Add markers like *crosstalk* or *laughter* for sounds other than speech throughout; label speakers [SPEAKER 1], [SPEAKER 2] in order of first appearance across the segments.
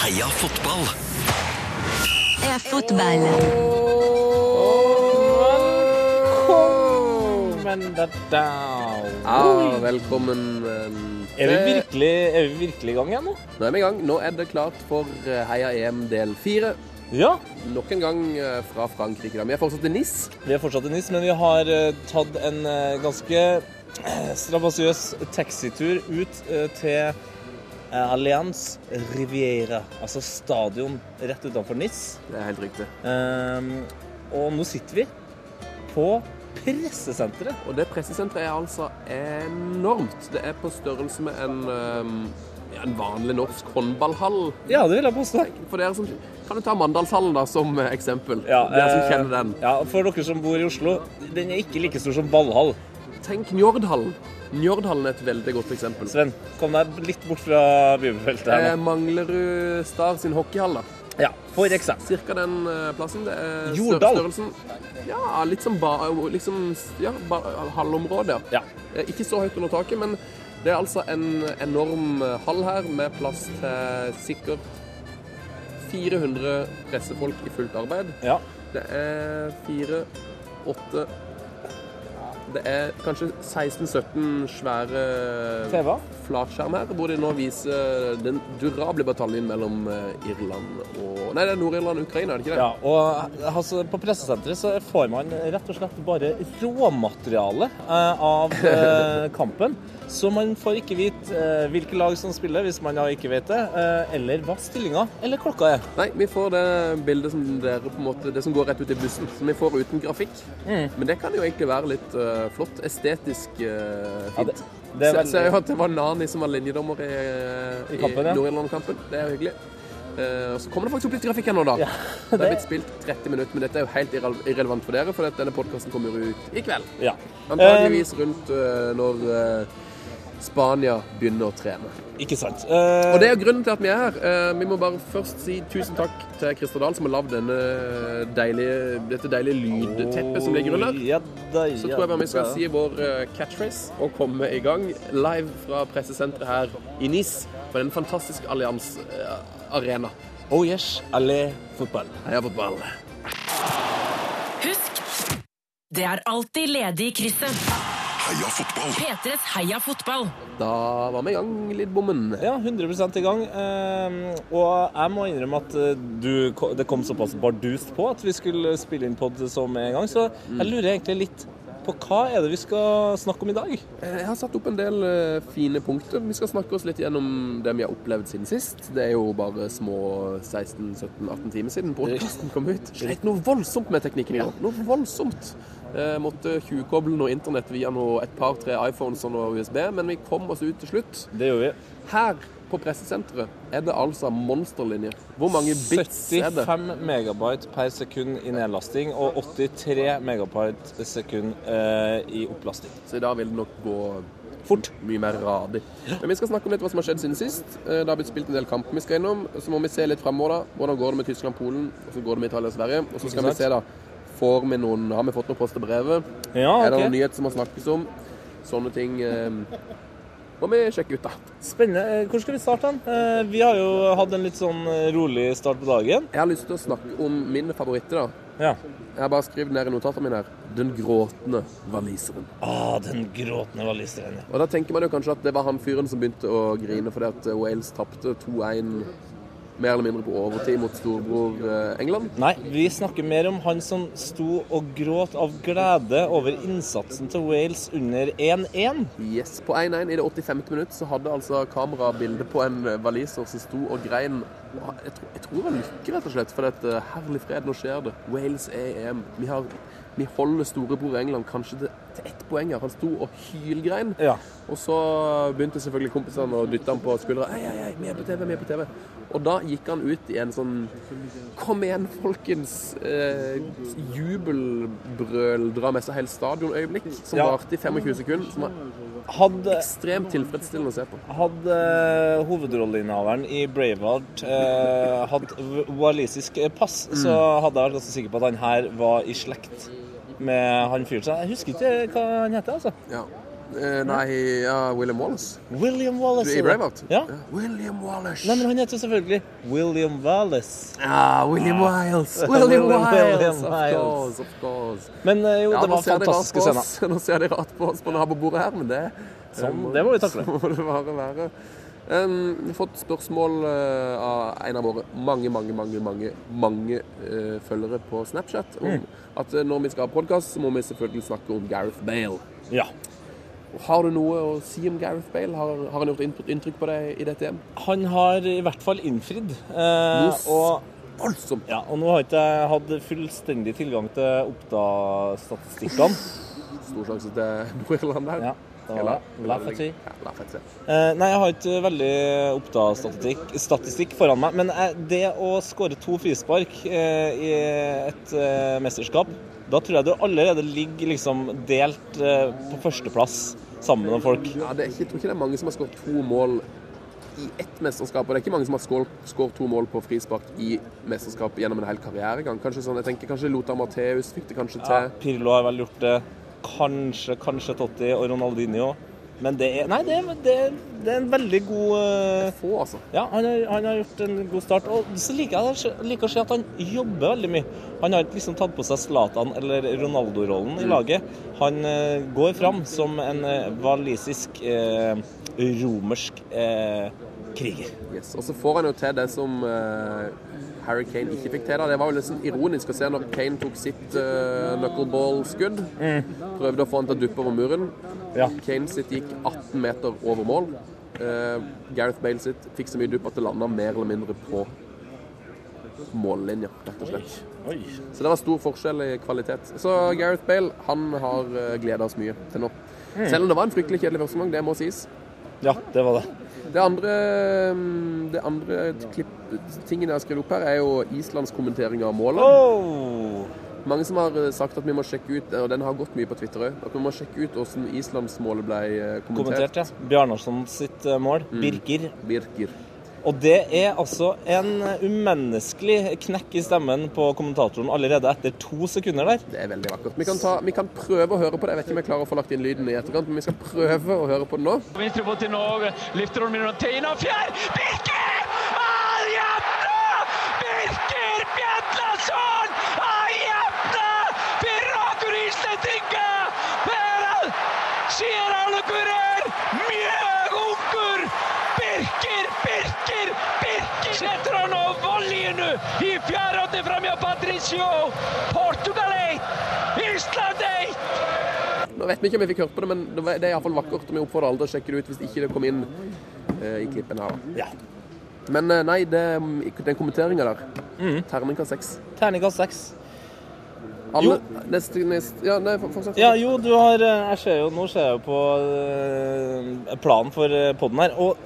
[SPEAKER 1] Heia fotball!
[SPEAKER 2] er fotball.
[SPEAKER 3] Men da, da.
[SPEAKER 4] Ah, velkommen. em,
[SPEAKER 3] Er vi
[SPEAKER 4] til-
[SPEAKER 3] virkelig, er vi virkelig i gang igjen nå?
[SPEAKER 4] Nå er vi i gang. Nå er det klart for eh, Heia EM del fire.
[SPEAKER 3] Ja.
[SPEAKER 4] Nok en gang eh, fra Frankrike. da. Vi er fortsatt i NIS.
[SPEAKER 3] Vi er fortsatt i NIS, men vi har eh, tatt en eh, ganske eh, strabasiøs taxitur ut eh, til eh, Allianz Riviera, altså stadion rett utenfor NIS.
[SPEAKER 4] Det er helt riktig.
[SPEAKER 3] Ehm, og nå sitter vi på pressesenteret.
[SPEAKER 4] Og det pressesenteret er altså enormt. Det er på størrelse med en, em, ja, en vanlig norsk håndballhall.
[SPEAKER 3] Ja, det vil jeg påstå.
[SPEAKER 4] For dere som, Kan du ta Mandalshallen da som eh, eksempel?
[SPEAKER 3] Ja,
[SPEAKER 4] dere som
[SPEAKER 3] eh,
[SPEAKER 4] kjenner den.
[SPEAKER 3] Ja, For dere som bor i Oslo, den er ikke like stor som Ballhall.
[SPEAKER 4] Tenk Njordhallen. Njordhallen er et veldig godt eksempel.
[SPEAKER 3] Sven, kom deg litt bort fra bibelfeltet
[SPEAKER 4] Det
[SPEAKER 3] her
[SPEAKER 4] er
[SPEAKER 3] nå. Manglerud
[SPEAKER 4] Star sin hockeyhall. da.
[SPEAKER 3] Ja, for eksempel.
[SPEAKER 4] Cirka den eh, plassen. Det er stør-
[SPEAKER 3] Jordal.
[SPEAKER 4] størrelsen. Ja, litt som ba, liksom, ja, ba, hallområde.
[SPEAKER 3] Ja.
[SPEAKER 4] Eh, Ikke så høyt under taket, men det er altså en enorm eh, hall her med plass til sikkert 400 pressefolk i fullt arbeid.
[SPEAKER 3] ja.
[SPEAKER 4] Det er fire, åtte Det er kanskje 16-17 svære
[SPEAKER 3] TV-er.
[SPEAKER 4] flatskjerm her, hvor de nå viser den durable bataljen mellom eh, Irland og Nei, det er Nord-Irland og Ukraina, er det ikke det?
[SPEAKER 3] Ja, og altså, På pressesenteret så får man rett og slett bare råmateriale eh, av
[SPEAKER 4] *laughs*
[SPEAKER 3] eh, kampen. Så man får ikke vite eh, hvilke lag som spiller, hvis man da ikke vet det. Eh, eller hva stillinga eller klokka er.
[SPEAKER 4] Nei, vi får det bildet som dere på en måte Det som går rett ut i bussen. Som vi får uten grafikk. Men det kan jo egentlig være litt eh, flott. Estetisk eh,
[SPEAKER 3] Ja,
[SPEAKER 4] fint.
[SPEAKER 3] det- det er
[SPEAKER 4] Se- Ser jo
[SPEAKER 3] veldig-
[SPEAKER 4] at det var Nani som var linjedommer i, eh,
[SPEAKER 3] I kampen, ja.
[SPEAKER 4] i Nord-Irland-kampen. Det er jo hyggelig. Eh, og så kommer det faktisk opp litt grafikk her nå, da.
[SPEAKER 3] Ja,
[SPEAKER 4] det... er
[SPEAKER 3] det-
[SPEAKER 4] blitt spilt 30 minutter, men dette er jo helt irre- irrelevant for dere, for at denne podkasten kommer jo ut i kveld.
[SPEAKER 3] Ja.
[SPEAKER 4] Antageligvis rundt eh, når eh, Spania begynner å trene.
[SPEAKER 3] Eh, ikke sant.
[SPEAKER 4] Og det er grunnen til at vi er her. Eh, Vi må bare først si tusen takk til Christer Dahl, som har lagd denne eh, deilige, dette deilige lydteppet som ligger under.
[SPEAKER 3] Eh, Ja, da,
[SPEAKER 4] Så
[SPEAKER 3] ja,
[SPEAKER 4] tror jeg bare vi skal
[SPEAKER 3] da.
[SPEAKER 4] si vår eh, catchphrase og komme i gang live fra pressesenteret her i Nis på den fantastiske Allianz eh, Arena.
[SPEAKER 3] Oh yes, allé fotball.
[SPEAKER 4] Heia fotball.
[SPEAKER 5] Husk, det er alltid ledig i krysset.
[SPEAKER 1] Heia fotball!
[SPEAKER 5] P3s Heia fotball.
[SPEAKER 4] Da var vi i gang, Lidbommen.
[SPEAKER 3] Ja, 100 i gang. Ehm, Og jeg må innrømme at eh, du, ko- det kom såpass bardust på at vi skulle spille inn pod som en gang, så jeg lurer egentlig litt på hva er det vi skal snakke om i dag?
[SPEAKER 4] Eh, Jeg har satt opp en del eh, fine punkter. Vi skal snakke oss litt gjennom det vi har opplevd siden sist. Det er jo bare små 16-17-18 timer siden podkasten kom ut. Sleit noe voldsomt med teknikken i går. Noe voldsomt. Eh, måtte tjuvkoble noe internett via noe, et par-tre iPhones og noe USB, men vi kom oss ut til slutt.
[SPEAKER 3] Det gjør vi.
[SPEAKER 4] Her på pressesenteret er det altså monsterlinjer. Hvor mange bits er det?
[SPEAKER 3] 75 megabyte per sekund i nedlasting og 83 megabyte per sekund eh, i opplasting.
[SPEAKER 4] Så i dag vil det nok gå fort. Mye mer radig. Men vi skal snakke om litt hva som har skjedd siden sist. Eh, Det har blitt spilt en del kamper vi skal innom. Så må vi se litt fremover, da. Hvordan går det med Tyskland, Polen, og så går det med Italia og Sverige. Og så skal
[SPEAKER 3] Ikke
[SPEAKER 4] vi se, da. Får vi noen Har vi fått noe post til brevet?
[SPEAKER 3] Ja,
[SPEAKER 4] Er det
[SPEAKER 3] Ah, ok.
[SPEAKER 4] noen nyhet som må snakkes om? Sånne ting eh, må vi sjekke ut, da.
[SPEAKER 3] Spennende. Eh, Hvor skal vi starte den? Eh, Vi har jo hatt en litt sånn eh, rolig start på dagen.
[SPEAKER 4] Jeg har lyst til å snakke om min favoritt, da.
[SPEAKER 3] Ja.
[SPEAKER 4] Jeg har bare skrevet ned i notatene mine her. Den gråtende waliseren.
[SPEAKER 3] Ah, den gråtende valiseren. ja.
[SPEAKER 4] Og da tenker man jo kanskje at det var han fyren som begynte å grine fordi at eh, Wales tapte 2-1 mer eller mindre på overtid mot storbror eh, England.
[SPEAKER 3] Nei, vi snakker mer om han som sto og gråt av glede over innsatsen til Wales under 1-1.
[SPEAKER 4] Yes, På 1-1 i det 85. minutt så hadde altså kameraet bilde på en waliser som sto og grein. Og han- Jeg tror, jeg tror han lykker, rett og slett. For at, eh, herlig fred, nå skjer det. Wales er EM. Vi, har, vi holder storebror England kanskje til, til ett poeng her. Han sto og hylgrein.
[SPEAKER 3] Ja.
[SPEAKER 4] Og så begynte selvfølgelig kompisene å dytte han på skuldra. Ei, ei, ei, vi er på TV, vi er på TV. Og da gikk han ut i en sånn Kom igjen, folkens! Eh, Jubelbrøl, dra med seg hele stadionøyeblikk, som
[SPEAKER 3] Ja.
[SPEAKER 4] varte i 25 sekunder. Som var
[SPEAKER 3] Hadde,
[SPEAKER 4] ekstremt tilfredsstillende å se på.
[SPEAKER 3] hadde eh, hovedrolleinnehaveren i Braveheart eh, hatt w- walisisk pass,
[SPEAKER 4] Mm.
[SPEAKER 3] så hadde jeg vært ganske sikker på at han her var i slekt med han fyren. Så Jeg husker ikke hva han heter, altså.
[SPEAKER 4] Ja. Eh, nei, ja, William Wallace.
[SPEAKER 3] William
[SPEAKER 4] Du
[SPEAKER 3] Wallace.
[SPEAKER 4] er i Braveheart?
[SPEAKER 3] Ja.
[SPEAKER 4] William Wallace.
[SPEAKER 3] Nei, men han heter jo selvfølgelig William Wallace.
[SPEAKER 4] Ah, William Wiles.
[SPEAKER 3] *laughs*
[SPEAKER 4] William
[SPEAKER 3] William
[SPEAKER 4] Wiles, of
[SPEAKER 3] Wiles.
[SPEAKER 4] course, of course.
[SPEAKER 3] Men eh, jo,
[SPEAKER 4] Ja,
[SPEAKER 3] det
[SPEAKER 4] nå
[SPEAKER 3] var
[SPEAKER 4] ser de rart
[SPEAKER 3] fantastiske
[SPEAKER 4] på
[SPEAKER 3] scener.
[SPEAKER 4] oss. *laughs* Nå ser de rart på oss på det her på bordet her, men det
[SPEAKER 3] Sånn, det må vi
[SPEAKER 4] *laughs*
[SPEAKER 3] takle.
[SPEAKER 4] Så må det bare være. Em, vi har fått spørsmål eh, av en av våre mange, mange, mange mange, mange eh, følgere på Snapchat om
[SPEAKER 3] Mm.
[SPEAKER 4] at eh, når vi skal ha podkast, så må vi selvfølgelig snakke om Gareth Bale.
[SPEAKER 3] Ja.
[SPEAKER 4] Har du noe å si om Gareth Bale? Har, har han gjort innpå- inntrykk på deg i dette hjem?
[SPEAKER 3] Han har i hvert fall innfridd. eh,
[SPEAKER 4] Yes.
[SPEAKER 3] og,
[SPEAKER 4] Voldsomt!
[SPEAKER 3] ja, og nå har ikke jeg hatt fullstendig tilgang til Oppda-statistikkene.
[SPEAKER 4] Stor sjanse til *laughs* Nordirland der.
[SPEAKER 3] Ja, da-
[SPEAKER 4] Eller-
[SPEAKER 3] La Fetty.
[SPEAKER 4] Ja, La Fetty.
[SPEAKER 3] Eh, nei, jeg har ikke veldig Oppda-statistikk statistikk foran meg. Men eh, det å skåre to frispark eh, i et eh, mesterskap, da tror jeg du allerede ligger liksom delt eh, på førsteplass sammen med folk.
[SPEAKER 4] Ja, det er ikke, jeg tror ikke det er mange som har skåret to mål i ett mesterskap. Og det er ikke mange som har skål- skåret to mål på frispark i mesterskap gjennom en hel karrieregang. Kanskje sånn, jeg tenker kanskje Lothar Matthäus fikk det kanskje
[SPEAKER 3] Ja,
[SPEAKER 4] til.
[SPEAKER 3] Pirlo har vel gjort det. Kanskje, kanskje Totti og Ronaldinho. Men det er Nei, det er, det er, det er en veldig god eh,
[SPEAKER 4] Få, altså.
[SPEAKER 3] Ja, han har, han har gjort en god start. Og så liker jeg det- liker å se at han jobber veldig mye. Han har ikke liksom tatt på seg Zlatan eller Ronaldo-rollen i laget. Han eh, går fram som en eh, walisisk, eh, romersk eh, kriger.
[SPEAKER 4] Yes. Og så får han jo til det som eh, Harry Kane ikke fikk til. da. Det var jo nesten ironisk å se når Kane tok sitt eh, knuckleball-skudd. Prøvde å få han til å duppe over muren.
[SPEAKER 3] Mm. Ja.
[SPEAKER 4] Kane sitt gikk 18 meter over mål. Eh, Gareth Bale sitt fikk så mye dupp at det landa mer eller mindre på mållinja, rett og slett.
[SPEAKER 3] Oi.
[SPEAKER 4] Så det var stor forskjell i kvalitet. Så Gareth Bale han har gleda oss mye til nå.
[SPEAKER 3] Mm.
[SPEAKER 4] Selv om det var en fryktelig kjedelig første gang, det må sies.
[SPEAKER 3] Ja, det var det.
[SPEAKER 4] Det andre, mm, det andre klipp, tingen jeg har skrevet opp her, er jo Islands kommentering av målet.
[SPEAKER 3] Oh.
[SPEAKER 4] Mange som har eh, sagt at vi må sjekke ut, og den har gått mye på Twitter òg, at vi må sjekke ut åssen Islandsmålet ble eh, kommentert.
[SPEAKER 3] Kommentert, ja. Bjarnarsson sitt eh, mål. Birker.
[SPEAKER 4] Birker.
[SPEAKER 3] Og det er altså en umenneskelig knekk i stemmen på kommentatoren allerede etter to sekunder der.
[SPEAKER 4] Det er veldig vakkert. Vi kan, ta, vi kan prøve å høre på det. Jeg vet ikke om jeg klarer å få lagt inn lyden i etterkant, men vi skal prøve å høre på det nå.
[SPEAKER 6] Venstrefot til nå, løfter hun rundt teien og fjær! Birker! Han jevner! Birker Bjetlason! Han jevner! Pirater i slettinga! Her skjer alle kurer! Mjøgunker! Birker, Birker, Birker! Setter han av volleyen nå i fjerde fra Patricio! Portugal 1, Island 1!
[SPEAKER 4] Nå vet vi ikke om vi fikk hørt på det, men det var- det er iallfall vakkert. Og vi oppfordrer alle til å sjekke det ut hvis ikke det kom inn eh, i klippen her. da.
[SPEAKER 3] Ja.
[SPEAKER 4] Men eh, nei, det, den kommenteringa der Terningkast seks.
[SPEAKER 3] Terningkast seks.
[SPEAKER 4] Alle neste, neste, Ja, nei, for- fortsett.
[SPEAKER 3] Ja, jo, du har eh, Jeg ser jo Nå ser jeg jo på eh, planen for eh, podden her, og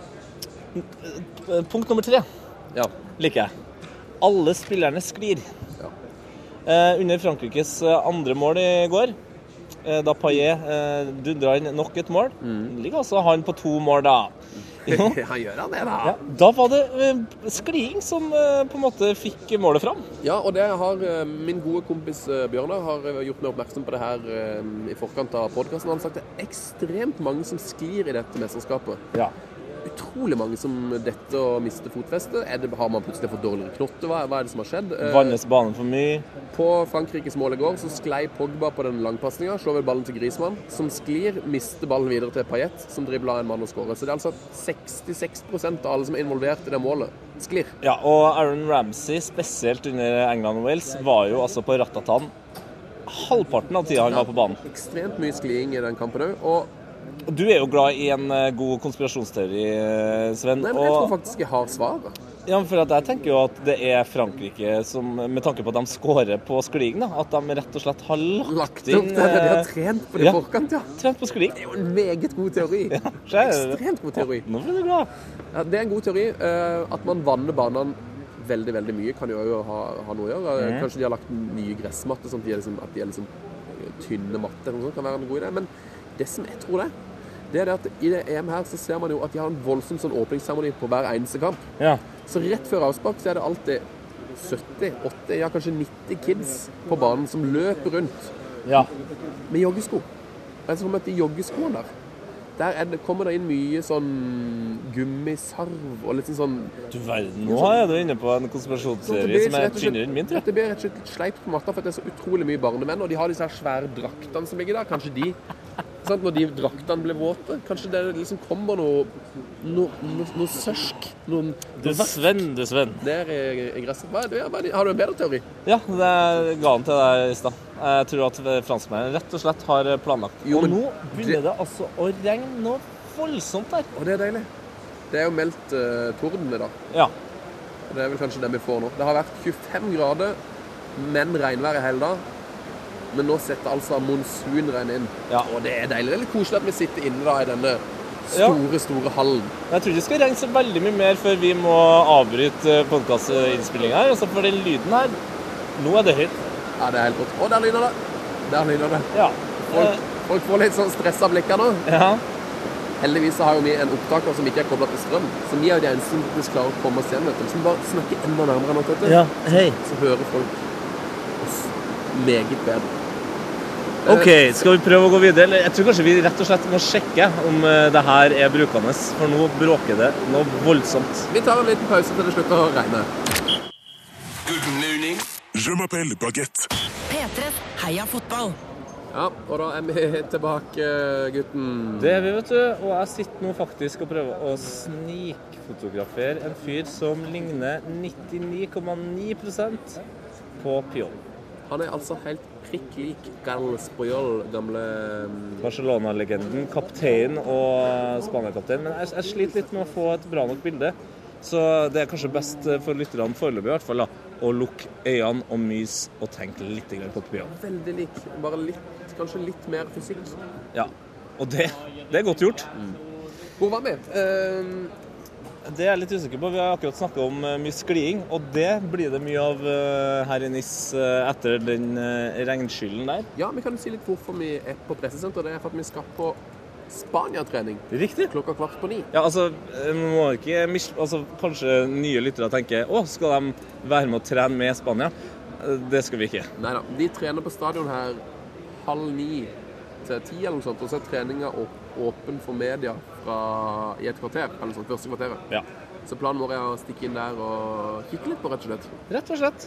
[SPEAKER 3] eh, punkt nummer tre *laughs*
[SPEAKER 4] Ja.
[SPEAKER 3] liker jeg. Alle spillerne sklir.
[SPEAKER 4] Ja.
[SPEAKER 3] Eh, under Frankrikes eh, andre mål i går, eh, da Paillet eh, dundra inn nok et mål, ligger altså han på to mål da. Jo,
[SPEAKER 4] *laughs* Han gjør han det, da.
[SPEAKER 3] Ja, da var det eh, skliing som eh, på en måte fikk målet fram.
[SPEAKER 4] Ja, og det har eh, min gode kompis eh, Bjørnar har eh, gjort meg oppmerksom på det her eh, i forkant av podkasten. Han har sagt det er ekstremt mange som sklir i dette mesterskapet.
[SPEAKER 3] Ja.
[SPEAKER 4] Utrolig mange som detter og mister fotfestet. Er det- Har man plutselig fått dårligere knotter? Hva, hva er det som har skjedd? Eh,
[SPEAKER 3] Vannes banen for mye.
[SPEAKER 4] På Frankrikes mål i går så sklei Pogba på den langpasninga, slår vel ballen til Griezmann, som sklir, mister ballen videre til Payet, som dribler en mann og skårer. Så det er altså 66 av alle som er involvert i det målet, sklir.
[SPEAKER 3] Ja, og Aaron Ramsey, spesielt under England og Wales, var jo altså på ratatan halvparten av tida han var på banen.
[SPEAKER 4] Ekstremt mye skliing i den kampen òg. Og
[SPEAKER 3] Og Du er jo glad i en eh, god konspirasjonsteori, eh, Sven.
[SPEAKER 4] Nei, men jeg tror
[SPEAKER 3] og,
[SPEAKER 4] faktisk jeg har svaret.
[SPEAKER 3] ja, for at jeg tenker jo at det er Frankrike som, med tanke på at de scorer på skliing, da, at de rett og slett har lagt,
[SPEAKER 4] Lagt opp
[SPEAKER 3] inn
[SPEAKER 4] til det de har
[SPEAKER 3] eh,
[SPEAKER 4] trent på det i
[SPEAKER 3] ja.
[SPEAKER 4] forkant, ja.
[SPEAKER 3] trent på skliing.
[SPEAKER 4] Det er jo en meget god teori.
[SPEAKER 3] så er det-
[SPEAKER 4] Ekstremt god teori.
[SPEAKER 3] Nå blir du glad.
[SPEAKER 4] Ja, det er en god teori. eh, At man vanner banene veldig, veldig mye, kan jo også ha, ha noe å gjøre. Eh, Kanskje de har lagt nye gressmatter, sånn at de er liksom, at de er liksom tynne matter. Noe sånt kan være en god idé. Men det som jeg tror det, det er det at i det EM her så ser man jo at de har en voldsom sånn åpningsseremoni på hver eneste kamp.
[SPEAKER 3] Ja.
[SPEAKER 4] Så rett før avspark så er det alltid 70, 80, ja kanskje 90 kids på banen som løper rundt
[SPEAKER 3] ja.
[SPEAKER 4] med joggesko. Og jeg så for meg at de joggeskoene der Der er det, kommer det inn mye sånn gummisarv og litt sånn
[SPEAKER 3] Du verden, nå er du inne på en konspirasjonsserie som er tynnere enn min, tror jeg.
[SPEAKER 4] Dette blir rett og slett litt sleipt på matta, for det er så utrolig mye barnemenn, og de har disse her svære draktene som ligger der. Kanskje de sant? Når de draktene blir våte, kanskje det liksom kommer noe Noe, noe, noe sørsk. Noen
[SPEAKER 3] Du Sven, du Sven.
[SPEAKER 4] der i, i gresset. Hva er det? Ja, hva er det? Har du en bedre teori?
[SPEAKER 3] Ja, det ga han til deg i stad. Jeg tror at franskmennene rett og slett har planlagt.
[SPEAKER 4] Jo,
[SPEAKER 3] og
[SPEAKER 4] men
[SPEAKER 3] nå begynner det... altså å regne noe voldsomt her.
[SPEAKER 4] Å, det er deilig. Det er jo meldt uh, torden i dag.
[SPEAKER 3] Ja.
[SPEAKER 4] Og Det er vel kanskje det vi får nå. Det har vært 25 grader, men regnvær i hele dag. Men nå setter altså monsunregn inn.
[SPEAKER 3] Ja.
[SPEAKER 4] Og det er deilig. Det er litt koselig at vi sitter inne da i denne store, store hallen.
[SPEAKER 3] Men Jeg tror ikke det skal regne så veldig mye mer før vi må avbryte podkastinnspillinga her. Altså for den lyden her Nå er det høyt.
[SPEAKER 4] Ja, det er helt rått. Å, der lyner det! Der lyner det.
[SPEAKER 3] Ja.
[SPEAKER 4] Folk, folk får litt sånn stress av blikket nå.
[SPEAKER 3] Eh, ja.
[SPEAKER 4] Heldigvis så har jo vi en opptaker som ikke er kobla til strøm. Så vi er jo de eneste som faktisk klarer å komme oss igjen, vet du. Så vi bare snakker enda nærmere nå, vet du.
[SPEAKER 3] hei.
[SPEAKER 4] Så hører folk oss meget bedre. Eh,
[SPEAKER 3] OK, skal vi prøve å gå videre? Eller jeg tror kanskje vi rett og slett må sjekke om eh, det her er brukende, for nå bråker det noe voldsomt.
[SPEAKER 4] Vi tar en liten pause til det slutter å regne.
[SPEAKER 1] Good morning. Je m'appelle Baguette.
[SPEAKER 5] P3 Heia fotball.
[SPEAKER 4] Ja, og da er vi tilbake, gutten.
[SPEAKER 3] Det er vi, vet du. Og jeg sitter nå faktisk og prøver å snikfotografere en fyr som ligner 99,9 på Pion.
[SPEAKER 4] Han er altså helt prikk lik Gal Spojol, gamle mm,
[SPEAKER 3] Barcelona-legenden, kaptein og Spania-kaptein. Men jeg, jeg sliter litt med å få et bra nok bilde. Så det er kanskje best for lytterne foreløpig, i hvert fall, da, å lukke øynene og myse og tenke litt grann på Pion.
[SPEAKER 4] Veldig lik. Bare litt, kanskje litt mer fysikk.
[SPEAKER 3] Ja. Og det, det er godt gjort.
[SPEAKER 4] Hvor var vi? Ehm,
[SPEAKER 3] Det er jeg litt usikker på. Vi har akkurat snakka om eh, mye skliding, og det blir det mye av eh, her i NIS eh, etter den eh, regnskylden der.
[SPEAKER 4] ja, vi kan jo si litt hvorfor vi er på pressesenter. Det er for at vi skal på Spania-trening
[SPEAKER 3] Riktig.
[SPEAKER 4] klokka kvart på ni.
[SPEAKER 3] Ja, altså, eh, man må ikke mis... altså, Kanskje nye lyttere tenker å, skal de være med å trene med Spania? Eh, Det skal vi ikke.
[SPEAKER 4] Nei da. De trener på stadion her halv ni til ti eller noe sånt, og så er treninga åp- åpen for media fra, i et kvarter, eller noe sånt, første kvarteret.
[SPEAKER 3] Ja.
[SPEAKER 4] Så planen vår er å stikke inn der og kikke litt på, rett og slett. Eh,
[SPEAKER 3] Rett og slett.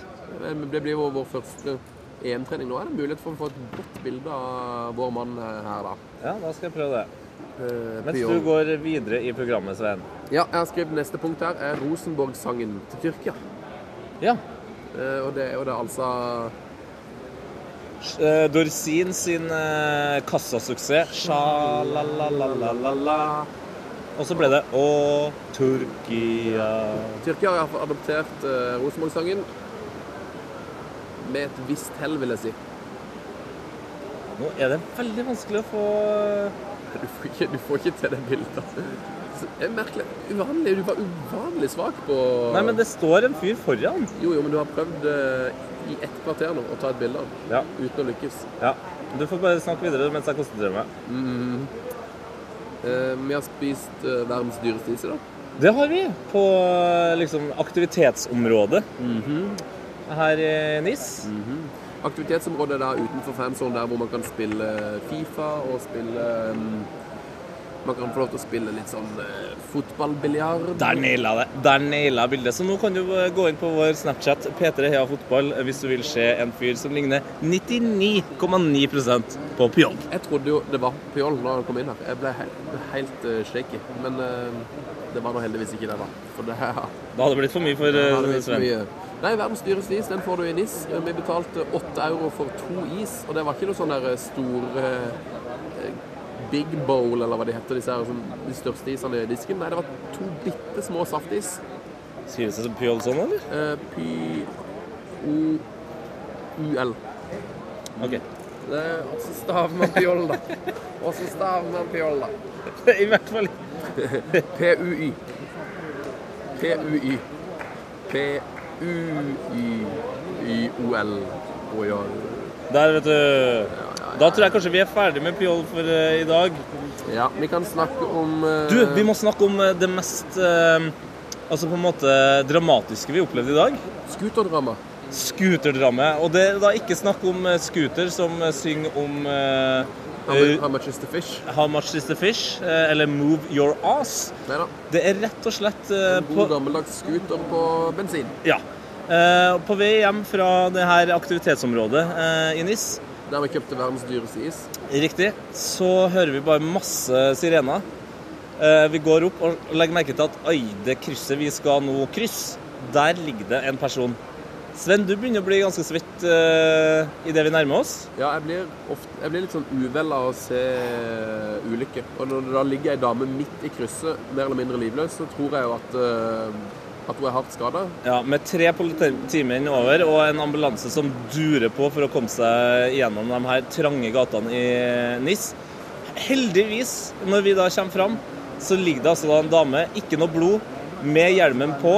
[SPEAKER 4] Det blir jo vår første EM-trening. Nå er det mulighet for å få et godt bilde av vår mann eh, her, da.
[SPEAKER 3] Ja, da skal jeg prøve det.
[SPEAKER 4] Eh,
[SPEAKER 3] Mens
[SPEAKER 4] Pyon.
[SPEAKER 3] du går videre i programmet, Svein.
[SPEAKER 4] Ja, jeg har skrevet neste punkt her er Rosenborg-sangen til Tyrkia.
[SPEAKER 3] Ja.
[SPEAKER 4] Eh, Og det er jo det altså
[SPEAKER 3] Eh, Dorsin sin eh, kassasuksess Sja-la-la-la-la-la. Og så ble det Å, Tyrkia
[SPEAKER 4] Tyrkia har iallfall adoptert eh, Rosenborg-sangen med et visst hell, vil jeg si.
[SPEAKER 3] Nå er det veldig vanskelig å få
[SPEAKER 4] Du får ikke, du får ikke til det bildet. Så Det er merkelig. Uvanlig. Du var uvanlig svak på
[SPEAKER 3] Nei, men det står en fyr foran.
[SPEAKER 4] Jo, jo, men du har prøvd eh, i ett kvarter nå å ta et bilde av den
[SPEAKER 3] Ja.
[SPEAKER 4] uten å lykkes.
[SPEAKER 3] ja. Du får bare snakke videre mens jeg konsentrerer meg.
[SPEAKER 4] Eh, vi har spist eh, verdens dyreste is i dag.
[SPEAKER 3] Det har vi på eh, liksom, aktivitetsområdet Mhm. her i NIS.
[SPEAKER 4] Aktivitetsområdet er da utenfor fansonen, der hvor man kan spille Fifa og spille mm, Man kan få lov til å spille litt sånn eh, fotballbiljard.
[SPEAKER 3] Der naila jeg det. Der naila jeg bildet. Så nå kan du eh, gå inn på vår Snapchat P3 Heia Fotball eh, hvis du vil se en fyr som ligner 99,9 på Pjong.
[SPEAKER 4] Jeg trodde jo det var Pjol da han kom inn her. Jeg ble helt, helt eh, shaky. Men eh, det var nå heldigvis ikke det, da. For det *laughs* her
[SPEAKER 3] Det hadde blitt for mye for
[SPEAKER 4] her
[SPEAKER 3] eh,
[SPEAKER 4] er det så
[SPEAKER 3] Sven.
[SPEAKER 4] mye. Nei, verdens dyreste is, den får du i NIS. Eh, Vi betalte åtte euro for to is, og det var ikke noe sånn der eh, store eh, Big Bowl, eller hva de heter, disse her, som de største isene i disken. Nei, det var to bitte små saftis.
[SPEAKER 3] Skrives det som Pjol sånn, eller?
[SPEAKER 4] Eh, P-O-U-L.
[SPEAKER 3] OK. *laughs*
[SPEAKER 4] Det er også staver man Pjol, da. Også staver man Pjol, da.
[SPEAKER 3] I hvert fall.
[SPEAKER 4] P-U-Y. P-U-Y. P-U-Y-Y-O-L. Og ja,
[SPEAKER 3] Der, vet du. Da tror jeg kanskje vi er ferdig med Pjol for eh, i dag.
[SPEAKER 4] ja, vi kan snakke om eh,
[SPEAKER 3] Du, vi må snakke om eh, det mest eh, Altså på en måte dramatiske vi opplevde i dag.
[SPEAKER 4] Scooterdrama.
[SPEAKER 3] Scooterdramme. Og det er da ikke snakk om eh, scooter som eh, synger om eh,
[SPEAKER 4] How mu- how much is the fish?
[SPEAKER 3] How much is the fish? eh, eller Move your ass.
[SPEAKER 4] Nei da.
[SPEAKER 3] Det er rett og slett eh,
[SPEAKER 4] En
[SPEAKER 3] på,
[SPEAKER 4] god gammeldags scooter på bensin.
[SPEAKER 3] ja. Eh, på vei hjem fra det her aktivitetsområdet eh, i NIS,
[SPEAKER 4] Der vi kjøpte verdens dyreste is.
[SPEAKER 3] riktig, så hører vi bare masse sirener. Eh, vi går opp og legger merke til at oi, det krysset vi skal nå krysse, der ligger det en person. Sven, du begynner å bli ganske svett eh, i idet vi nærmer oss.
[SPEAKER 4] Ja, jeg blir, ofte, jeg blir litt sånn uvel av å se eh, ulykker. Og når det da ligger ei dame midt i krysset, mer eller mindre livløs, så tror jeg jo at, eh, at hun er hardt skada.
[SPEAKER 3] Ja, med tre polititimer over og en ambulanse som durer på for å komme seg gjennom de her trange gatene i Nis. Heldigvis, når vi da kommer fram, så ligger det altså da en dame, ikke noe blod, med hjelmen på.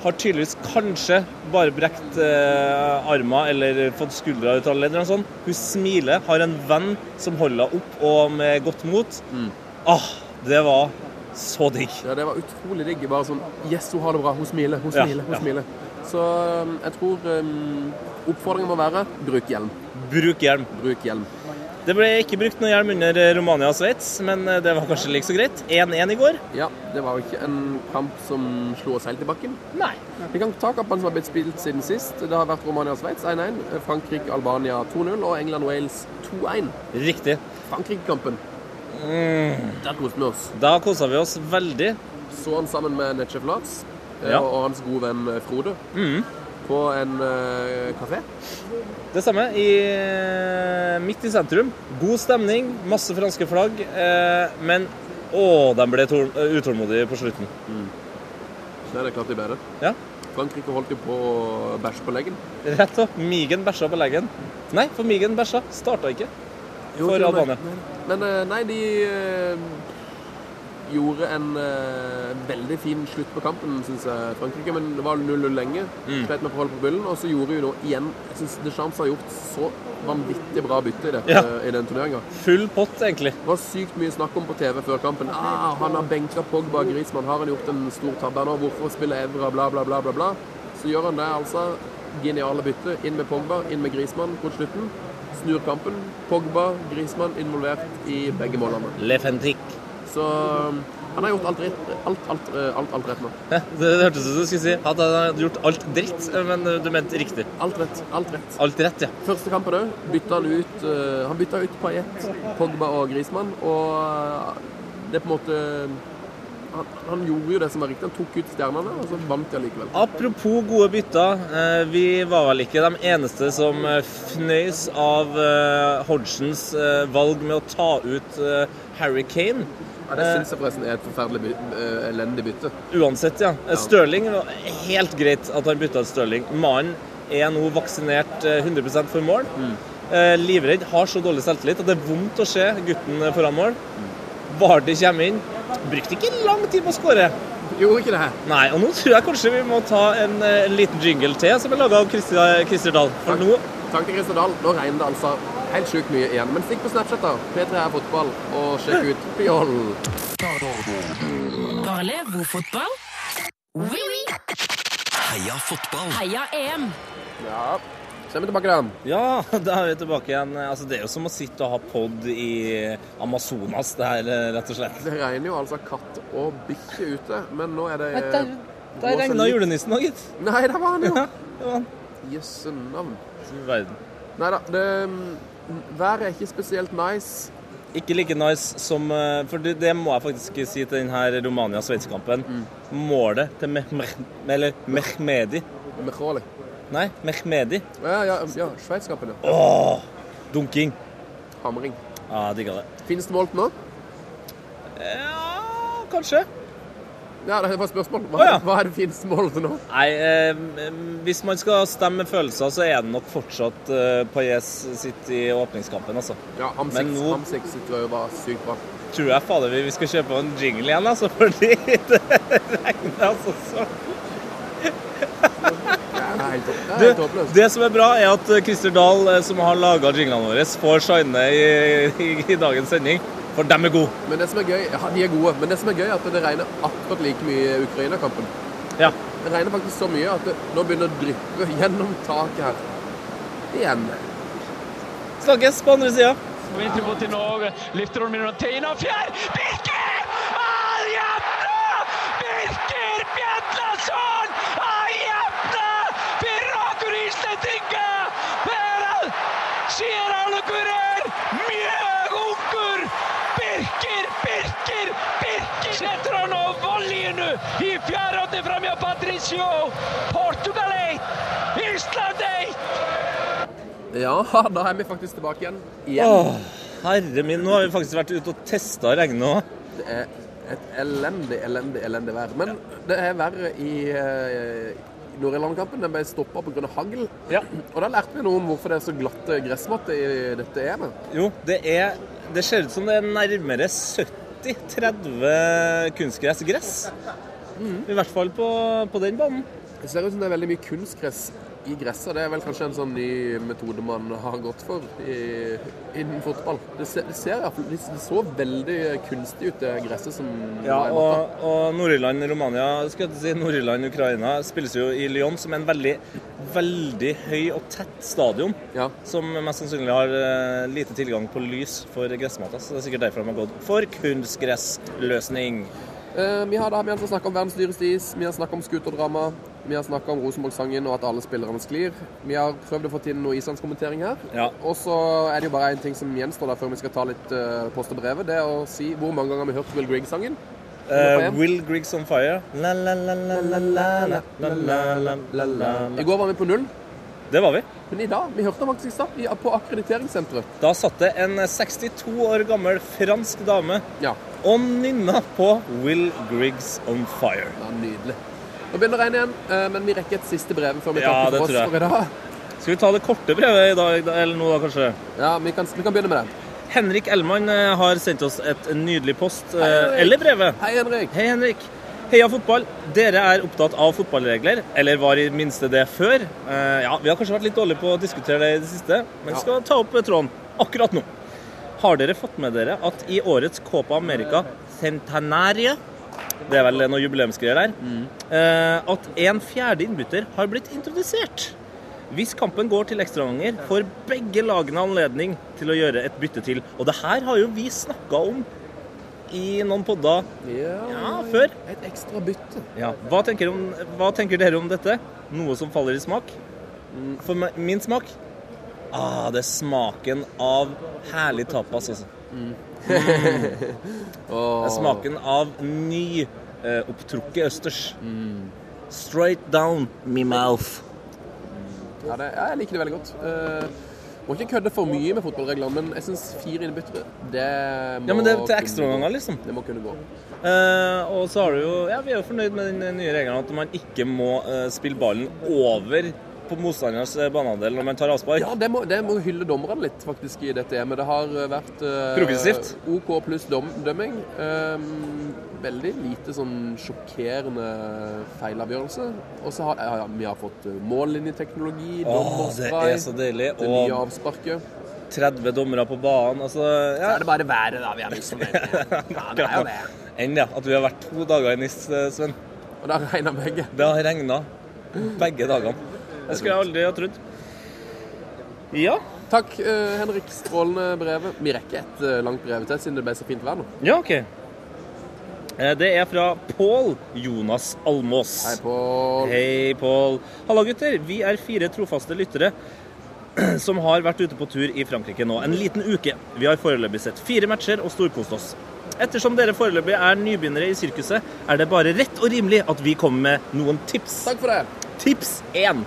[SPEAKER 3] Har tydeligvis kanskje bare brekt eh, armen eller fått skuldra ut av ledd eller noe sånt. Hun smiler, har en venn som holder henne opp og med godt mot. Ah, det var så digg.
[SPEAKER 4] Ja, det var utrolig digg. Bare sånn Yes, hun har det bra. Hun smiler, hun
[SPEAKER 3] Ja,
[SPEAKER 4] smiler, hun
[SPEAKER 3] ja.
[SPEAKER 4] smiler. Så eh, jeg tror eh, oppfordringen må være bruk hjelm.
[SPEAKER 3] Bruk hjelm.
[SPEAKER 4] Bruk hjelm.
[SPEAKER 3] Det ble ikke brukt noe hjelm under eh, Romania og Sveits, men eh, det var kanskje like så greit. 1-1 i går?
[SPEAKER 4] Ja, det var jo ikke en kamp som slo oss helt i bakken.
[SPEAKER 3] Nei.
[SPEAKER 4] Vi kan ta kampene som har blitt spilt siden sist. Det har vært Romania og Sveits 1-1, Frankrike-Albania 2-0 og England-Wales 2-1.
[SPEAKER 3] Riktig.
[SPEAKER 4] Frankrike-kampen.
[SPEAKER 3] Mm.
[SPEAKER 4] Der koste vi oss.
[SPEAKER 3] Da kosa vi oss veldig.
[SPEAKER 4] Så han sammen med Netchef Lars eh,
[SPEAKER 3] Ja.
[SPEAKER 4] og hans gode venn eh, Frode
[SPEAKER 3] Mm.
[SPEAKER 4] på en eh, kafé.
[SPEAKER 3] Det samme i, midt i sentrum. God stemning, masse franske flagg, eh, men å, de ble tål- utålmodige på slutten.
[SPEAKER 4] Nei, det er klart de ble det.
[SPEAKER 3] Ja.
[SPEAKER 4] Frankrike holdt jo på å bæsje på leggen.
[SPEAKER 3] Rett opp. Migen bæsja på leggen. Nei, for Migen bæsja. Starta ikke for
[SPEAKER 4] til og med.
[SPEAKER 3] Albania.
[SPEAKER 4] Men eh, nei, de eh, gjorde en eh, veldig fin slutt på kampen, syns jeg, Frankrike. Men det var 0-0 lenge.
[SPEAKER 3] Mm.
[SPEAKER 4] Sleit med å holde på bullen. Og så gjorde jo nå igjen Jeg syns Deschamps har gjort så vanvittig bra bytte i, dette,
[SPEAKER 3] Ja.
[SPEAKER 4] i den turneringa.
[SPEAKER 3] Full pott, egentlig.
[SPEAKER 4] Det var sykt mye snakk om på TV før kampen. Ah, han har benka Pogba Griezmann. Har han gjort en stor tabbe nå? Hvorfor spille Evra? Bla, bla, bla, bla, bla. Så gjør han det, altså. Geniale bytte. Inn med Pogba, inn med Griezmann mot slutten. Snur kampen. Pogba, Griezmann involvert i begge målene.
[SPEAKER 3] Le Fentique.
[SPEAKER 4] Så um, han har gjort alt rett, alt, alt, eh, alt, alt rett nå.
[SPEAKER 3] *laughs* Det hørtes ut som du skulle si at han hadde gjort alt dritt, eh, men du mente riktig.
[SPEAKER 4] Alt rett. Alt rett.
[SPEAKER 3] Alt rett, ja.
[SPEAKER 4] Første kampen òg bytta han ut eh, Han bytta ut Payet, Pogba og Griezmann, og eh, det er på en måte han, han gjorde jo det som var riktig. Han tok ut stjernene, og så vant de allikevel.
[SPEAKER 3] Apropos gode bytter. eh, Vi var vel ikke de eneste som eh, fnøys av eh, Hodgsons eh, valg med å ta ut eh, Harry Kane.
[SPEAKER 4] Ja, det syns jeg forresten er et forferdelig by, eh, elendig bytte.
[SPEAKER 3] Uansett, ja. Eh, Stirling var helt greit at han bytta ut Stirling. Mannen er nå vaksinert eh, 100 for mål. Eh, Livredd, har så dårlig selvtillit at det er vondt å se gutten eh, foran mål. Vardy kommer inn. Brukte ikke lang tid på å skåre.
[SPEAKER 4] Gjorde ikke det her.
[SPEAKER 3] Nei, og nå tror jeg kanskje vi må ta en, eh, en liten jingle til som er laga av Christer Christer Dahl. For nå
[SPEAKER 4] Takk til Christer Dahl. Nå regner det altså helt sjukt mye igjen. Men stikk på Snapchat, da. P3 er fotball, og sjekk ut Pjoll.
[SPEAKER 5] Bare fotball? Oui, oui.
[SPEAKER 7] Heia fotball!
[SPEAKER 5] Heia E EM.
[SPEAKER 4] Ja. Så er vi tilbake, da.
[SPEAKER 3] Ja, *laughs* da er vi tilbake igjen. Altså, det er jo som å sitte og ha pod i Amazonas, det her, eh, rett og slett.
[SPEAKER 4] Det regner jo altså katt og bikkje ute, men nå er det eh,
[SPEAKER 3] Der regna julenissen òg, gitt.
[SPEAKER 4] Nei, der var han jo.
[SPEAKER 3] Ja, det var han.
[SPEAKER 4] Jøsse navn.
[SPEAKER 3] Du verden.
[SPEAKER 4] Nei da, det mm, Været er ikke spesielt nice.
[SPEAKER 3] Ikke like nice som eh, For det, det må jeg faktisk si til denne Romania-Sveits-kampen. Målet til Meh- Meh- eller Mehmedi
[SPEAKER 4] Mecholi.
[SPEAKER 3] Nei, Mehmedi.
[SPEAKER 4] Ja, ja, ja. Sveitskampen, ja.
[SPEAKER 3] Åh, dunking.
[SPEAKER 4] Hamring.
[SPEAKER 3] Ja, jeg digga det.
[SPEAKER 4] Finnes det målt nå?
[SPEAKER 3] Ja, kanskje.
[SPEAKER 4] Ja, det var et spørsmål. Hva,
[SPEAKER 3] Å, ja.
[SPEAKER 4] hva er det finnes målt nå?
[SPEAKER 3] Nei, eh, hvis man skal stemme med følelser, så er det nok fortsatt eh, Pailles sitt i åpningskampen, altså.
[SPEAKER 4] Ja,
[SPEAKER 3] Men nå-
[SPEAKER 4] Hamsik sitt røde var sykt bra.
[SPEAKER 3] Tror jeg fader vi vi skal kjøpe en jingle igjen, altså, *laughs* fordi det regner altså så
[SPEAKER 4] Det er helt, topp- det er helt
[SPEAKER 3] du,
[SPEAKER 4] håpløst.
[SPEAKER 3] Det som er bra, er at eh, Christer Dahl, eh, som har laga jinglene våre, får shine i, i, i dagens sending, for dem er gode.
[SPEAKER 4] Men det som er gøy Ja, de er gode. Men det som er gøy, er at det regner akkurat like mye i Ukraina-kampen.
[SPEAKER 3] Ja.
[SPEAKER 4] Det regner faktisk så mye at det nå begynner det å dryppe gjennom taket her. Igjen.
[SPEAKER 3] Snakkes på andre sida.
[SPEAKER 6] Vinter mot Dinov, lifter over Mirantina, fjær! Birker! Han jevner! Birker Bjedlason! Han jevner! Pirater Isletinge! Peral! Sier alle kurer! Mjøgunker! Birker, Birker, Birker setter han av volleyen nå! I fjerde framja Patricio! Portugal 1, Island 1!
[SPEAKER 4] Ja, da er vi faktisk tilbake igjen.
[SPEAKER 3] Åh, herre min, nå har vi faktisk vært ute og testa regnet òg.
[SPEAKER 4] Det er et elendig, elendig, elendig vær. Men det er verre i eh, Nord-Irland-kampen. Den ble stoppa pga. hagl.
[SPEAKER 3] Ja.
[SPEAKER 4] Og da lærte vi noe om hvorfor det er så glatte gressmatter i dette EM-et.
[SPEAKER 3] Jo, det er Det ser ut som det er nærmere 70-30 kunstgressgress. I hvert fall på, på den banen.
[SPEAKER 4] Det ser ut som det er veldig mye kunstgress i gresset. Det er vel kanskje en sånn ny metode man har gått for i, innen fotball. Det ser, det ser i hvert fall det så veldig kunstig ut, det gresset som
[SPEAKER 3] Ja,
[SPEAKER 4] var i matta.
[SPEAKER 3] og, og Nord-Irland-Romania skulle jeg til å si, Nord-Irland-Ukraina spilles jo i Lyon, som er en veldig, veldig høy og tett stadion.
[SPEAKER 4] Ja.
[SPEAKER 3] Som mest sannsynlig har eh, lite tilgang på lys for gressmatta. Så det er sikkert derfor de har gått for kunstgressløsning.
[SPEAKER 4] Eh, vi har da vi har snakket om verdens dyreste is, vi har snakket om skuterdrama, vi har snakket om Rosenborg-sangen og at alle spillerne sklir. Vi har prøvd å få til noe islandskommentering her.
[SPEAKER 3] Ja.
[SPEAKER 4] Og så er det jo bare én ting som gjenstår da før vi skal ta litt eh, post og brevet. Det er å si hvor mange ganger har vi hørt Will Grigg-sangen.
[SPEAKER 3] Eh, Will Griggs on fire. La, la, la, la, la, la, la, la, la, la, la, la.
[SPEAKER 4] I går var vi på null,
[SPEAKER 3] Det var vi.
[SPEAKER 4] men i dag Vi hørte den faktisk i stad, i- på akkrediteringssenteret.
[SPEAKER 3] Da satt det en 62 år gammel fransk dame
[SPEAKER 4] Ja,
[SPEAKER 3] og nynna på Will Griggs on fire.
[SPEAKER 4] det er nydelig. Nå begynner det å regne igjen, eh, men vi rekker et siste brev før vi
[SPEAKER 3] Ja,
[SPEAKER 4] takker
[SPEAKER 3] det
[SPEAKER 4] for oss
[SPEAKER 3] tror jeg.
[SPEAKER 4] for i dag.
[SPEAKER 3] Skal vi ta det korte brevet i dag, da- eller nå da, kanskje?
[SPEAKER 4] Ja, vi kan, vi kan begynne med det.
[SPEAKER 3] Henrik Elman eh, har sendt oss et nydelig post, eh, eller brevet.
[SPEAKER 4] Hei, Henrik.
[SPEAKER 3] Hei, Henrik. Heia fotball. Dere er opptatt av fotballregler, eller var i det minste det før. Eh, ja, Vi har kanskje vært litt dårlige på å diskutere det i det siste, men vi skal ta opp tråden akkurat nå. Har dere fått med dere at i årets Copa America Centenaria det er vel noe jubileumsgreier der. eh, At en fjerde innbytter har blitt introdusert. Hvis kampen går til ekstraomganger, får begge lagene anledning til å gjøre et bytte til. Og det her har jo vi snakka om i noen podder ja, før.
[SPEAKER 4] Et ekstra bytte.
[SPEAKER 3] Ja. Hva, tenker om, hva tenker dere om dette? Noe som faller i smak? For me- min smak ah, Det er smaken av herlig tapas, altså.
[SPEAKER 4] Åh.
[SPEAKER 3] Det er smaken av ny eh, opptrukket østers. Straight down me mouth.
[SPEAKER 4] Ja, det, ja, jeg liker det veldig godt. Eh, må ikke kødde for mye med fotballreglene, men jeg syns fire innbyttere, det må
[SPEAKER 3] Ja, men det er til
[SPEAKER 4] kunne
[SPEAKER 3] ekstraomganger,
[SPEAKER 4] gå.
[SPEAKER 3] liksom.
[SPEAKER 4] Det må kunne gå.
[SPEAKER 3] Eh, og så har du jo Ja, vi er jo fornøyd med den eh, nye regelen at man ikke må eh, spille ballen over på motstanderens eh, banehalvdel når man tar avspark.
[SPEAKER 4] Ja, det må, det må hylle dommerne litt, faktisk, i dette EM-et. Det har eh, vært eh,
[SPEAKER 3] Progressivt.
[SPEAKER 4] OK pluss dom, dømming. Eh, veldig lite sånn sjokkerende feilavgjørelse. Og så har ja, ja, vi har fått eh, mållinjeteknologi,
[SPEAKER 3] Åh, det er så
[SPEAKER 4] dommerspray,
[SPEAKER 3] deilig.
[SPEAKER 4] det nye
[SPEAKER 3] Og
[SPEAKER 4] avsparket.
[SPEAKER 3] 30 dommere på banen. Altså,
[SPEAKER 4] Så
[SPEAKER 3] ja.
[SPEAKER 4] er det bare været, da, vi er
[SPEAKER 3] *laughs*
[SPEAKER 4] misfornøyd. Ja, det er jo det.
[SPEAKER 3] Enn ja, at vi har vært to dager i NIS, eh, Sven.
[SPEAKER 4] Og da regner begge.
[SPEAKER 3] Det har regna begge dagene. Det skulle jeg aldri ha trodd. Ja.
[SPEAKER 4] Takk, eh, Henrik. Strålende brevet. Vi rekker et eh, langt brev til, siden det ble så fint vær nå.
[SPEAKER 3] Ja, OK. Eh, Det er fra Pål Jonas Almås.
[SPEAKER 4] Hei, på
[SPEAKER 3] Hei, Pål. Halla, gutter. Vi er fire trofaste lyttere *clears throat* som har vært ute på tur i Frankrike nå en liten uke. Vi har foreløpig sett fire matcher og storkost oss. Ettersom dere foreløpig er nybegynnere i sirkuset, er det bare rett og rimelig at vi kommer med noen tips.
[SPEAKER 4] Takk for det.
[SPEAKER 3] Tips 1.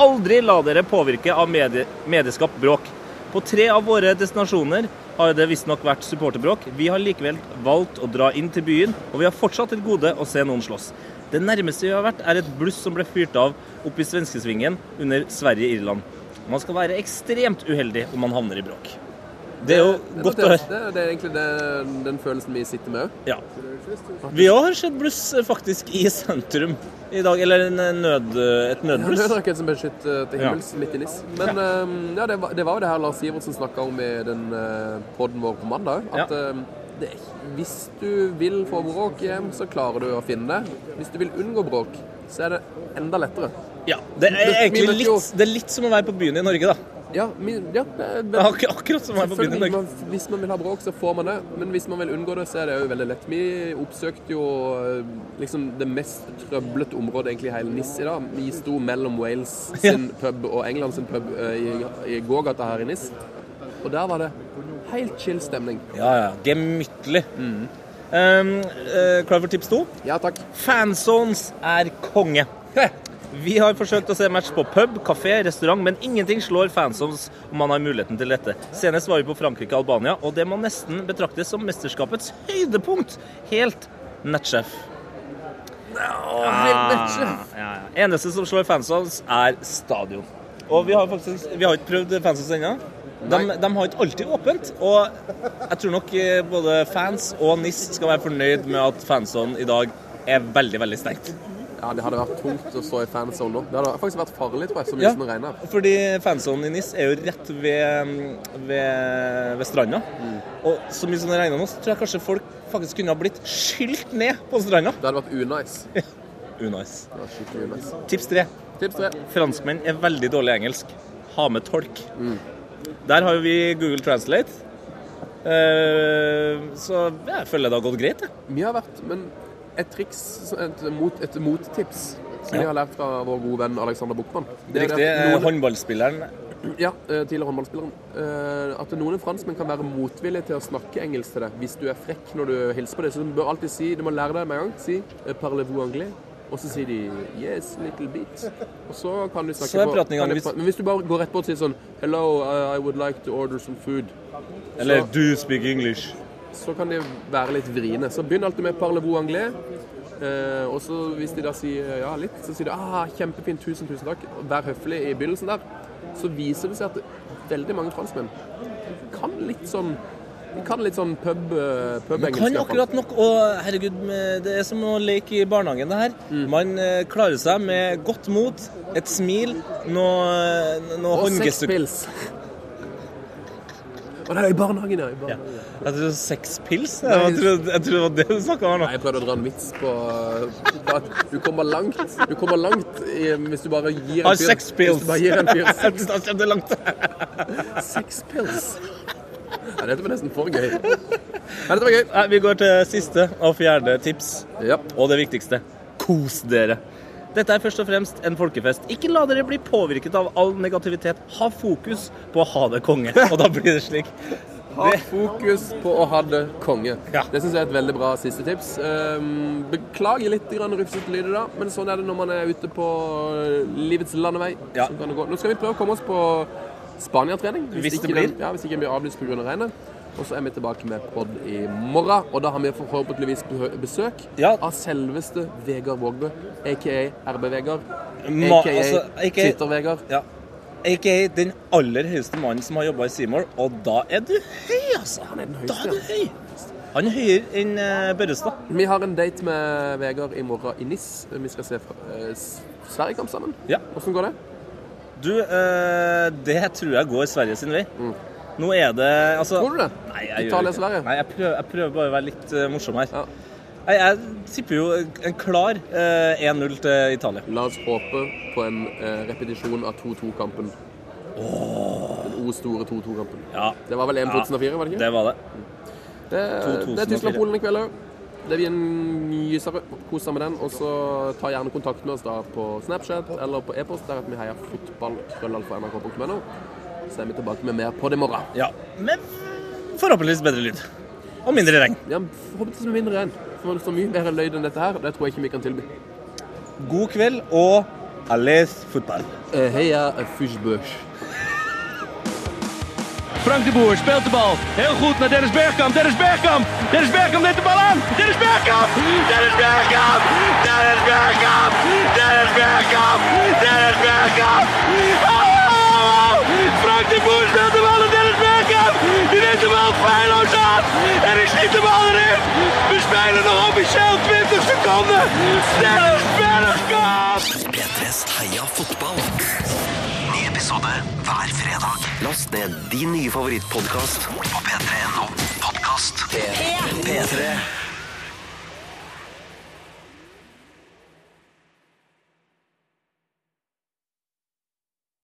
[SPEAKER 3] Aldri la dere påvirke av medie, medieskapt bråk. På tre av våre destinasjoner har det visstnok vært supporterbråk. Vi har likevel valgt å dra inn til byen, og vi har fortsatt til gode å se noen slåss. Det nærmeste vi har vært, er et bluss som ble fyrt av oppe i svenskesvingen under Sverige-Irland. Man skal være ekstremt uheldig om man havner i bråk. Det er jo godt å
[SPEAKER 4] det,
[SPEAKER 3] høre.
[SPEAKER 4] det, det er egentlig det, den følelsen vi sitter med òg.
[SPEAKER 3] Ja.
[SPEAKER 4] *laughs*
[SPEAKER 3] Vi òg har sett bluss eh, faktisk i sentrum i dag. Eller en eh, nød, et
[SPEAKER 4] Det
[SPEAKER 3] nødbluss.
[SPEAKER 4] er raketten som ble skutt eh, til himmels midt i NIS. Men eh, ja, det, var, det var jo det her Lars Sivertsen snakka om i den eh, podden vår på mandag òg. At
[SPEAKER 3] Ja.
[SPEAKER 4] eh, det, er ikke- hvis du vil få bråk i EM, så klarer du å finne det. Hvis du vil unngå bråk, så er det enda lettere.
[SPEAKER 3] Ja, det er
[SPEAKER 4] Vi- vi
[SPEAKER 3] egentlig
[SPEAKER 4] møtte jo-
[SPEAKER 3] litt, det er litt som å være på byen i Norge, da.
[SPEAKER 4] Ja, vi, ja det er
[SPEAKER 3] Det er akkur- akkurat som å være på byen i
[SPEAKER 4] Selvfølgelig,
[SPEAKER 3] Norge.
[SPEAKER 4] man, hvis man vil ha bråk, så får man det. Men hvis man vil unngå det, så er det jo veldig lett. Vi oppsøkte jo eh, liksom det mest trøblete området egentlig i hele Nis i dag. Vi sto mellom Wales sin pub og England sin pub eh, i, i gågata her i Nis. Og der var det helt chill stemning.
[SPEAKER 3] Ja, ja. Gemyttlig. Um, eh, klar for tips to?
[SPEAKER 4] Ja, takk.
[SPEAKER 3] Fanzones er konge. Vi har forsøkt å se match på pub, kafé, restaurant, men ingenting slår fanzones om man har muligheten til dette. Senest var vi på Frankrike-Albania, og det må nesten betraktes som mesterskapets høydepunkt. Helt nettsjef. Ah, ja, ja. Eneste som slår fanzones, er stadion. Og vi har faktisk vi har ikke prøvd fanzones ennå. De, de har ikke alltid åpent, og jeg tror nok eh, både fans og NIS skal være fornøyd med at fanzone i dag er veldig, veldig stengt.
[SPEAKER 4] Ja, det hadde vært tungt å stå i fanzone nå. Det hadde faktisk vært farlig, tror jeg, så mye
[SPEAKER 3] Ja,
[SPEAKER 4] som det regner.
[SPEAKER 3] fordi fansonen i NIS er jo rett ved, mm, ved, ved stranda. Og så mye som det regner nå, så tror jeg kanskje folk faktisk kunne ha blitt skylt ned på stranda.
[SPEAKER 4] Det hadde vært unice.
[SPEAKER 3] Unice.
[SPEAKER 4] Det var skikkelig unice.
[SPEAKER 3] Tips tre.
[SPEAKER 4] Tips tre.
[SPEAKER 3] Franskmenn er veldig dårlig i engelsk. Ha med tolk. Der har jo vi Google Translate. Eh, så jeg føler det har gått greit, jeg.
[SPEAKER 4] Vi har vært, men et triks, et, mot, et mottips som
[SPEAKER 3] Ja.
[SPEAKER 4] vi har lært fra vår gode venn Alexander Buchmann det er
[SPEAKER 3] Riktig.
[SPEAKER 4] det
[SPEAKER 3] eh,
[SPEAKER 4] at noen-
[SPEAKER 3] Håndballspilleren
[SPEAKER 4] Ja, eh, tidligere håndballspilleren. Eh, At noen franskmenn kan være motvillige til å snakke engelsk til deg hvis du er frekk når du hilser på dem. Så du bør alltid si Du må lære deg med en gang. Si eh, 'parlez-vous anglais'. Og så sier de 'yes, little bit'. Og så kan du snakke
[SPEAKER 3] Så er
[SPEAKER 4] på-
[SPEAKER 3] praten i gang.
[SPEAKER 4] kan du pra- Men hvis du bare går rett bort og sier sånn 'hello, I I would like to order some food',
[SPEAKER 3] Eller
[SPEAKER 4] Så-
[SPEAKER 3] 'do you speak English'?
[SPEAKER 4] så kan de være litt vriene. Så begynn alltid med parlez-vous anglais. Eh, og så hvis de da sier eh, ja litt, så sier de ah, kjempefint, tusen, tusen takk. Og Vær høflig i begynnelsen der. Så viser det seg at veldig mange franskmenn kan litt sånn de kan litt sånn pub, eh, pub-engelsk.
[SPEAKER 3] Kan
[SPEAKER 4] i hvert fall.
[SPEAKER 3] akkurat nok. Og herregud, med- det er som å leke i barnehagen, det her.
[SPEAKER 4] Mm.
[SPEAKER 3] Man eh, klarer seg med godt mot, et smil, noe, noe
[SPEAKER 4] Og seks
[SPEAKER 3] håndgestuk...
[SPEAKER 4] pils. Å nei, i barnehagen, ja. I barnehagen.
[SPEAKER 3] Jeg trodde seks pils. Jeg var- trodde, jeg trodde det var det du snakka om her nå.
[SPEAKER 4] Nei, Jeg prøvde å dra en vits på, på at du kommer langt, du kommer langt i, hvis du bare gir en
[SPEAKER 3] Har
[SPEAKER 4] fyr
[SPEAKER 3] seks
[SPEAKER 4] Hvis
[SPEAKER 3] pils.
[SPEAKER 4] du bare gir en fyr
[SPEAKER 3] *laughs* Jeg synes jeg kjente langt.
[SPEAKER 4] Seks pils. Ja, dette var nesten for gøy. Ja, dette var gøy.
[SPEAKER 3] Nei, vi går til siste og fjerde tips.
[SPEAKER 4] Ja.
[SPEAKER 3] Og det viktigste kos dere. Dette er først og fremst en folkefest. Ikke la dere bli påvirket av all negativitet. Ha fokus på å ha det konge. Og da blir det
[SPEAKER 4] *laughs*
[SPEAKER 3] slik.
[SPEAKER 4] Ha fokus på å ha det konge.
[SPEAKER 3] Ja.
[SPEAKER 4] Det syns jeg er et veldig bra siste tips. Ehm, Beklager litt grann rufsete lyder, da, men sånn er det når man er ute på eh, livets landevei.
[SPEAKER 3] Ja.
[SPEAKER 4] Så kan det gå. Nå skal vi prøve å komme oss på Spania-trening.
[SPEAKER 3] Hvis det
[SPEAKER 4] ikke
[SPEAKER 3] blir.
[SPEAKER 4] Den, ja, hvis ikke den blir avlyst pga. Av regnet. Og så er vi tilbake med pod i morgen, og da har vi forhåpentligvis be- besøk
[SPEAKER 3] Ja.
[SPEAKER 4] av selveste Vegard Vågbø, aka RB-Vegard,
[SPEAKER 3] Ma-
[SPEAKER 4] aka
[SPEAKER 3] altså, aka
[SPEAKER 4] Twitter-Vegard.
[SPEAKER 3] Ja. AKA den aller høyeste mannen som har jobba i Seymour, og da er du høy, altså!
[SPEAKER 4] er den
[SPEAKER 3] da
[SPEAKER 4] høyeste,
[SPEAKER 3] er du høy. Han er høyere enn eh, Børrestad.
[SPEAKER 4] Vi har en date med Vegard i morgen i NIS. Vi skal se fra- eh, S- Sverigekamp sammen.
[SPEAKER 3] Ja.
[SPEAKER 4] Hvordan går det?
[SPEAKER 3] Du, eh, det tror jeg går Sverige sin vei. Nå er det altså
[SPEAKER 4] Mm. Tror du det?
[SPEAKER 3] Nei, jeg gjør
[SPEAKER 4] Italia,
[SPEAKER 3] ikke det.
[SPEAKER 4] Sverige?
[SPEAKER 3] Nei, jeg prøver, jeg prøver bare å være litt eh, morsom her.
[SPEAKER 4] Ja.
[SPEAKER 3] Nei, jeg tipper jo en klar eh, 1-0 til Italia.
[SPEAKER 4] La oss håpe på en eh, repetisjon av 2-2-kampen. Den o store 2-2-kampen.
[SPEAKER 3] Ja,
[SPEAKER 4] Det var vel EM 2004, var det ikke?
[SPEAKER 3] det var det.
[SPEAKER 4] Det, det er
[SPEAKER 3] 2004.
[SPEAKER 4] Tyskland-Polen i kveld òg. Det blir en nysere. Kos deg med den. Og så ta gjerne kontakt med oss da på Snapchat eller på e-post. Der at vi heier fotball, krøllalfa, nrk.no. Så er vi tilbake med mer på det i morgen.
[SPEAKER 3] Ja, Med forhåpentligvis bedre lyd. Og mindre regn.
[SPEAKER 4] Ja, forhåpentligvis med mindre enn. For så mye mer løyd enn dette her, det tror jeg ikke vi kan tilby.
[SPEAKER 3] God kveld og alles fotball.
[SPEAKER 4] Eh, Heia Fushbush.
[SPEAKER 6] Frank de Boer speelt de bal. Heel goed naar Dennis Bergkamp. Dennis Bergkamp. Dennis Bergkamp neemt de bal aan. Dennis Bergkamp. Dennis Bergkamp. Dennis Bergkamp. Dennis Bergkamp. Dennis Bergkamp. Oh! Frank de Boer speelt de bal aan Dennis Bergkamp. Die neemt de bal feilloos aan. En is schiet de bal erin. We spelen nog officieel 20 seconden. Dennis Bergkamp.
[SPEAKER 7] P3s Heia fotball. Ny episode hver fredag. Last ned din nye favorittpodkast på p3.no podkast. P3.